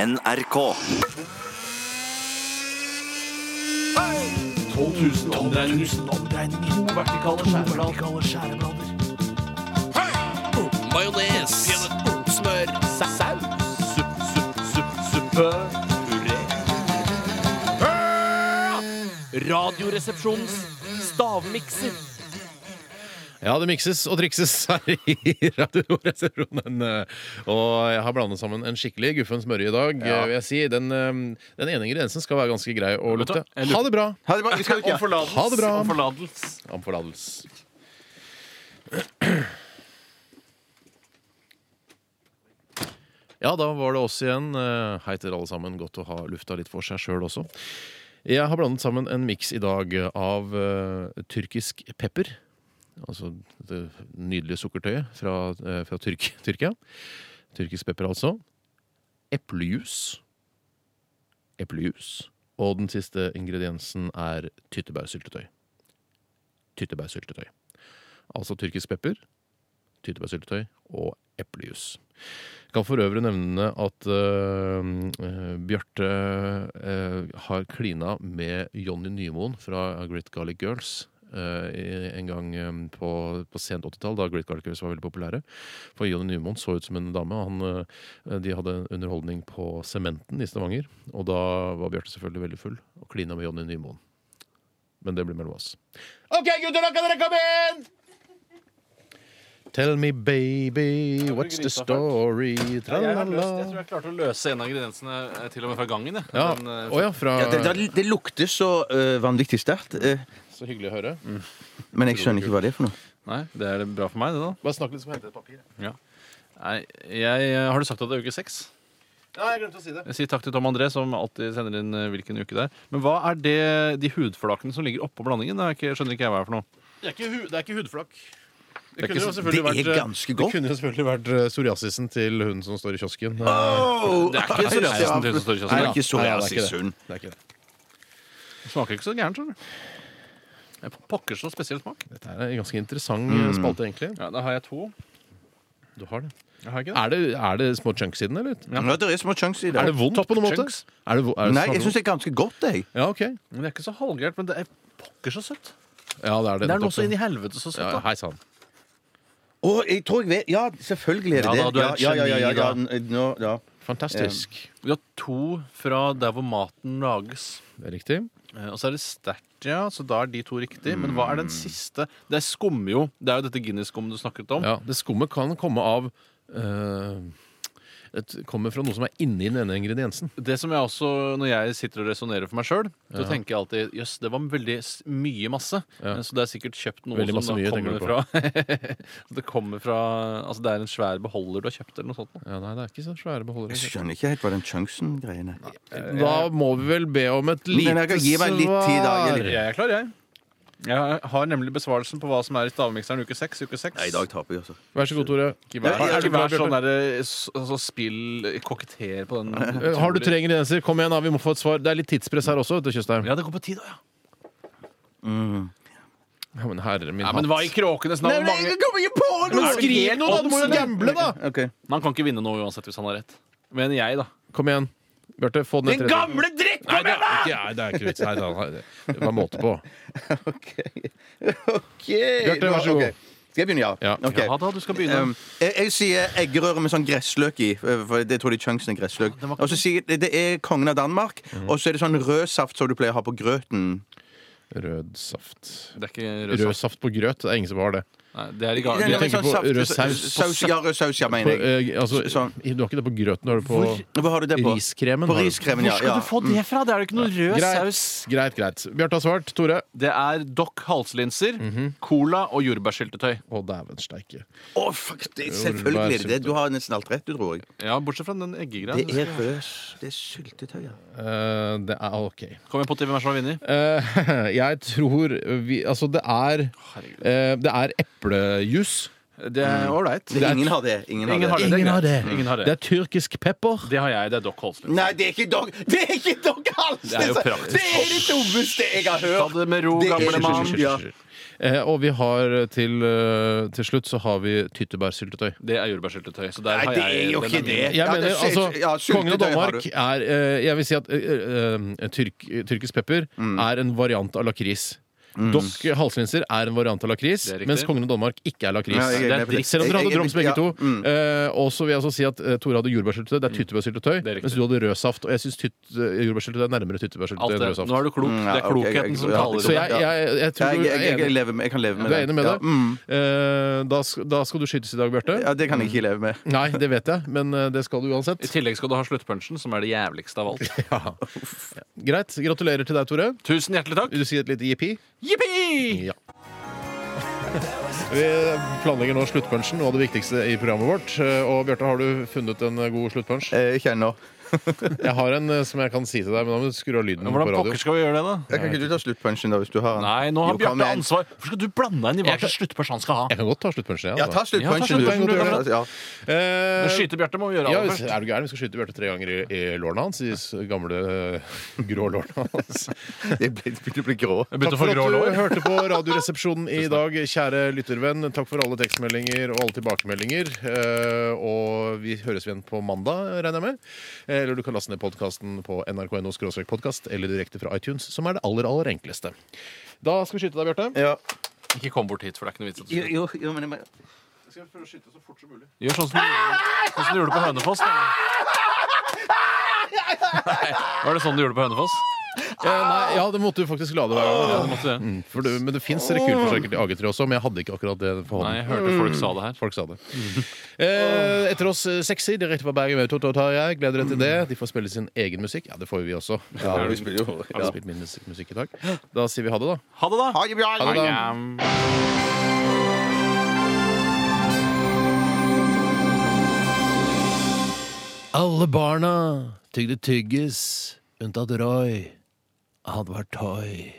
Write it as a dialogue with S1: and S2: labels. S1: NRK.
S2: 12 000 omdreininger. To vertikale skjæreblader. Majones. Smør. Saus. Supp, supp, supp, suppe. Puré. Radioresepsjonens stavmikser.
S3: Ja, det mikses og trikses her i Radioresepsjonen. Og jeg har blandet sammen en skikkelig guffen smørje i dag, vil jeg si. Den, eh, den ene ingrediensen skal være ganske grei å
S2: du hva?
S3: lukte.
S2: Jeg lurer-
S3: Ha det bra!
S4: Ha det bra. Vi skal ut, ja.
S2: Om forlatelse.
S3: Ha det bra.
S2: Om forlatelse.
S3: Om forlatelse. Ja, da var det oss igjen. Eh, Hei til dere alle sammen. Godt å ha lufta litt for seg sjøl også. Jeg har blandet sammen en miks i dag av eh, tyrkisk pepper. Altså det nydelige sukkertøyet fra, eh, fra Tyrk Tyrkia. Tyrkisk pepper, altså. Eplejus. Eplejus. Og den siste ingrediensen er tyttebærsyltetøy tyttebærsyltetøy. Altså tyrkisk pepper, tyttebærsyltetøy og eplejus. Kan for øvrig nevne at øh, øh, Bjarte øh, har klina med Jonny Nymoen fra Great Garlic Girls. øh, i- en gang øh, på, på sent 80-tall, da Great Garlic Girls var veldig populære. For Jonny Nymoen så ut som en dame. og Han, øh, de hadde en underholdning på Sementen i Stavanger. Og da var Bjarte selvfølgelig veldig full og klina med Jonny Nymoen. Men det blir mellom oss. OK, gutter, da kan dere komme inn! Tell me, baby, what's the story? Tra-la-la.
S2: jeg klarte å løse en av ingrediensene eh, til og med fra gangen. jeg.
S3: Ja,
S2: Den, eh,
S3: å ja, fra
S4: Ja, det, det, det lukter så øh, vanvittig sterkt, øh,
S3: Så hyggelig å høre.
S4: men jeg skjønner ikke hva det er for noe.
S2: Nei, det er bra for meg, det, da.
S3: Bare snakk litt som hente et papir.
S2: Nei, jeg, eh, har du sagt at det er uke seks?
S3: Ja, jeg glemte å si det.
S2: Jeg sier takk til Tom André, som alltid sender inn eh, hvilken uke det er. Men hva er det, de hudflakene som ligger oppå blandingen? Det er ikke, skjønner ikke jeg hva er for noe.
S3: Det er ikke, hu det er ikke hudflakk. Det,
S2: er
S3: kunne
S2: ikke
S3: jo
S2: så-
S3: selvfølgelig
S4: det er
S3: vært, eh,
S4: ganske godt.
S3: Det kunne jo selvfølgelig vært eh, psoriasisen til hun som står i kiosken. Eh,
S2: Det er ikke psoriasisen til som står i kiosken. da.
S3: Nei, det
S4: sånn Nei, det er ikke
S3: er ikke
S4: psoriasisund.
S3: Det er ikke det.
S2: Det smaker ikke så gærent, skjønner du. Det er Pokker så spesiell smak.
S3: Dette er en ganske interessant eh, spalte, egentlig.
S2: Ja, Da har jeg to.
S3: Du har det.
S2: Jeg har ikke det.
S3: Er det, er det små chunks i den, eller?
S4: Ja, det er små chunks i det.
S3: Er det vondt på noen måte?
S2: chunks?
S3: Er det, vo- er det
S4: Nei, jeg
S3: smaker
S4: syns det er ganske godt, jeg.
S3: vondt? Ja, ok.
S2: Men det er ikke så halvgærent, men det er pokker så søtt.
S3: Ja, det er det.
S2: Det er noe
S3: nettopp.
S2: så inn i helvete så søtt,
S3: ja,
S2: da.
S3: Hei sann.
S4: Å, jeg tror jeg vet Ja, selvfølgelig er det
S2: Ja,
S4: det.
S2: da, du er et
S4: ja, ja, ja, ja, ja,
S2: geni,
S4: n- nå- ja.
S3: Fantastisk.
S2: Vi har to fra der hvor maten lages.
S3: Det er riktig.
S2: Eh, Og så er det sterkt, ja. Så da er de to riktig. Men hva er den siste? Det skummer jo. Det er jo dette Guinness-skummet du snakket om.
S3: Ja, det skummet kan komme av eh, et, Kommer fra noe som er inni den ene ingrediensen.
S2: Det som jeg også, Når jeg sitter og resonnerer for meg sjøl, så tenker jeg alltid jøss, det var veldig s- mye masse.
S3: Ja.
S2: Så det er sikkert kjøpt noe
S3: Veldig masse
S2: som da kommer
S3: mye,
S2: fra Det kommer fra Altså det er en svær beholder du har kjøpt, eller noe sånt.
S3: Ja, nei, det er ikke så svære beholdere.
S4: Jeg skjønner ikke helt hva den chunksen-greien er.
S3: Eh, Da må vi vel be om et
S4: Men jeg
S3: lite
S4: Eh, kan gi meg litt tid, da, jeg
S3: svar.
S4: litt-
S2: Jeg er klar, jeg. Jeg har nemlig besvarelsen på hva som er i stavmikseren uke seks. Uke seks.
S4: Nei, i dag taper jeg, altså.
S3: Vær så god, Tore.
S4: vær-
S2: Har-
S4: Er
S2: Ikke
S4: du
S2: vær sånn derre s- altså, spill kokettere på den.
S3: Eh, Har du tre ingredienser? Kom igjen, da. Vi må få et svar. Det er litt tidspress her også. vet du, Tjøstheim.
S2: Ja, det går på tid òg, ja.
S3: Ja, men herre min
S2: Nei, men hva i kråkenes
S4: Nei,
S2: navn?
S4: men
S2: Mange...
S4: jeg kommer ikke på
S3: Men
S4: noe!
S3: skriv noe, da! Du må jo gamble, da!
S4: Ok.
S2: Man kan ikke vinne noe uansett hvis han har rett. Men jeg, da.
S3: Kom igjen. Bjarte, få den etter.
S2: dritt!
S3: Nei, det er ikke, nei, det er ikke vits. Nei, det er- det var måte på.
S4: Ok. Ok. Bjarte,
S3: vær så god.
S4: Skal jeg begynne, ja?
S3: Ja.
S4: Ok.
S2: Ja da, du skal begynne.
S4: Um, jeg, jeg sier eggerøre med sånn gressløk i. For det tror de chunksen er gressløk. Og så sier jeg det, det er kongen av Danmark, og så er det sånn rød saft som du pleier å ha på grøten.
S3: Rød saft.
S2: det er ikke rød
S3: Rød
S2: saft.
S3: saft på grøt. Det er ingen som har det.
S2: Nei, det er liksom- i
S4: Nei, nei,
S2: gang.
S4: men
S3: tenker
S4: sånn
S3: på rød
S4: saft-
S3: saus.
S4: saus. Ja, rød saus, ja,
S3: På,
S4: mener jeg.
S3: eh, altså,
S4: Sånn.
S3: Du har ikke det på grøten, du har det på
S4: Hva har du det på?
S3: riskremen.
S4: På
S3: har du.
S4: riskremen, ja. ja.
S2: få det fra? Det er jo ikke noe rød
S3: Greit, greit. greit. Bjarte har svart. Tore?
S2: Det er Dock halslinser, cola og jordbærsyltetøy.
S3: Å, dæven steike.
S4: Å, fuck, det, selvfølgelig er det det. Du har nesten alt rett, du, tror jeg.
S2: Ja, bortsett fra den eggegreia.
S4: Det er rød Det er syltetøy, ja.
S3: Eh, det er OK.
S2: Kom igjen på til hvem er som har vunnet.
S3: Eh, jeg tror vi Altså, det er eh, Det er eplejus.
S2: Det er ålreit.
S4: Det, ingen har det. Ingen har
S2: Mm. Ingen har
S4: det.
S2: det. er
S3: Ingen har
S2: greit.
S3: det.
S2: Ingen har det.
S3: Det er tyrkisk pepper.
S2: Det har jeg. Det er Doc Holslund.
S4: Nei, det er ikke dog Det er ikke dog Halsen!
S2: Det er jo praktisk.
S4: Det er det dummeste jeg har hørt!
S2: Ta det med ro,
S4: Det er-
S2: gamle mann.
S4: Ja.
S3: Eh, og vi har til, eh, til slutt så har vi tyttebærsyltetøy.
S2: Det er jordbærsyltetøy. Så der
S4: Nei,
S2: har
S4: det
S2: jeg
S4: er jo
S2: den
S4: ikke
S2: er min.
S3: Jeg
S4: det. Ja,
S3: mener,
S4: det er-
S3: altså,
S4: ja, syltetøy
S3: Kongen av Danmark er
S4: har
S3: eh, Jeg vil si at eh, eh, tyrk, tyrkisk pepper
S4: Mm.
S3: er en variant av lakris. Dokk halslinser er en variant av lakris,
S2: Det er riktig.
S3: mens Kongen av Danmark ikke er lakris.
S4: Ja, jeg er
S3: Det er
S4: med på det.
S3: dritt. Selv om dere
S4: Jeg-
S3: hadde
S4: jeg-
S3: droms begge
S4: ja,
S3: to.
S4: mm.
S3: Eh, og så vil jeg også si at eh, Tore hadde jordbærsyltetøy, det er tyttebærsyltetøy,
S2: Det er riktig.
S3: mens du hadde rødsaft. Og jeg syns jordbærsyltetøy er nærmere
S2: Alt
S3: tyttebærsyltetøy enn
S2: det.
S3: rødsaft.
S2: Nå er du klok.
S4: Mm, ja,
S2: Det er
S4: ok, jeg-
S2: klokheten som
S4: ja.
S2: taler.
S3: Så jeg, jeg, jeg
S4: Jeg,
S3: tror du
S4: jeg,
S3: er
S4: jeg, jeg,
S3: enig.
S4: lever med, jeg kan leve med
S3: Du er enig med
S4: ja.
S3: det?
S4: Mm.
S3: Eh, da, sk- da skal du skytes i dag, Bjarte.
S4: ja, Det kan jeg ikke leve med.
S3: Nei, det vet jeg, men eh, det skal du uansett.
S2: I tillegg skal du ha sluttpunchen, som er det jævligste av alt.
S3: Greit. Gratulerer til deg, Tore.
S2: Tusen hjertelig takk.
S3: Vil du si et lite jippi?
S2: Jippi!
S3: Ja. Vi planlegger nå sluttpunsjen, noe av det viktigste i programmet vårt. Eh, Og Bjarte, har du funnet en god sluttpunsj?
S4: Eh, Ikke ennå.
S3: Jeg har en eh, som jeg kan si til deg, men da må du skru av lyden på
S2: Hvordan pokker
S3: radio.
S2: skal vi gjøre det, da?
S4: Jeg kan ikke du ta sluttpunchen, da, hvis du har den?
S2: Nei, nå har
S4: Jo, kom
S2: Bjarte
S4: igjen.
S2: ansvar. Hvorfor skal du blande deg inn i hva
S3: Jeg kan-
S2: slags sluttpunch han skal ha?
S3: Jeg kan godt ta sluttpunsjen, jeg.
S4: Ja, ta
S3: Altså.
S4: sluttpunchen,
S2: Ja, ta sluttpunchen,
S4: du.
S2: du, Bjarte.
S4: Ja.
S3: Eh,
S2: Men Skyte-Bjarte må vi gjøre
S3: ja,
S2: aller
S3: hvis-
S2: først.
S3: er du gæren? Vi skal skyte Bjarte tre ganger i, i lårene hans. I s- gamle eh, grå lårene hans.
S4: Jeg begynte å bli grå.
S2: Jeg
S3: Takk
S2: begynte å
S3: for
S2: få
S3: at
S2: grå
S3: du
S2: lår.
S3: hørte på Radioresepsjonen i dag, kjære lyttervenn. Takk for alle tekstmeldinger og alle tilbakemeldinger. Eh, Og vi høres igjen på mandag, regner jeg med. Eh, Eller du kan laste ned podkasten på nrk.no podkast eller direkte fra iTunes, som er det aller, aller enkleste. Da skal vi skyte deg, Bjarte.
S4: Ja.
S2: Ikke kom bort hit, for det er ikke noe vits. at du
S4: Jo,
S2: skyter.
S4: jo, jo, men jeg må-
S2: Gjør sånn som du- sånn som du gjorde på Hønefoss. Da. Nei, Var det sånn du gjorde på Hønefoss?
S3: Eh, Nei, ja, det måtte du faktisk la det
S2: Ja,
S3: være.
S2: det måtte det.
S3: Mm, For det, men det fins rekyleforsøker til AG3 også, men jeg hadde ikke akkurat det for
S2: Nei, jeg hørte
S3: hånden.
S2: folk sa det her.
S3: Folk sa det. Eh, etter oss eh, sexy direkte fra Bergen Auto, Tarjei. Gleder dere til det. De får spille sin egen musikk. Ja, det får jo vi også.
S4: Ja, vi spiller jo.
S3: Har vi spilt min musikk, musikk i dag? Da sier vi ha det, da.
S2: Ha det, da!
S4: Ha det bra.
S3: Ha det, da.
S2: Jam.
S3: Alle barna tygde tyggis, unntatt Roy. Han var toy.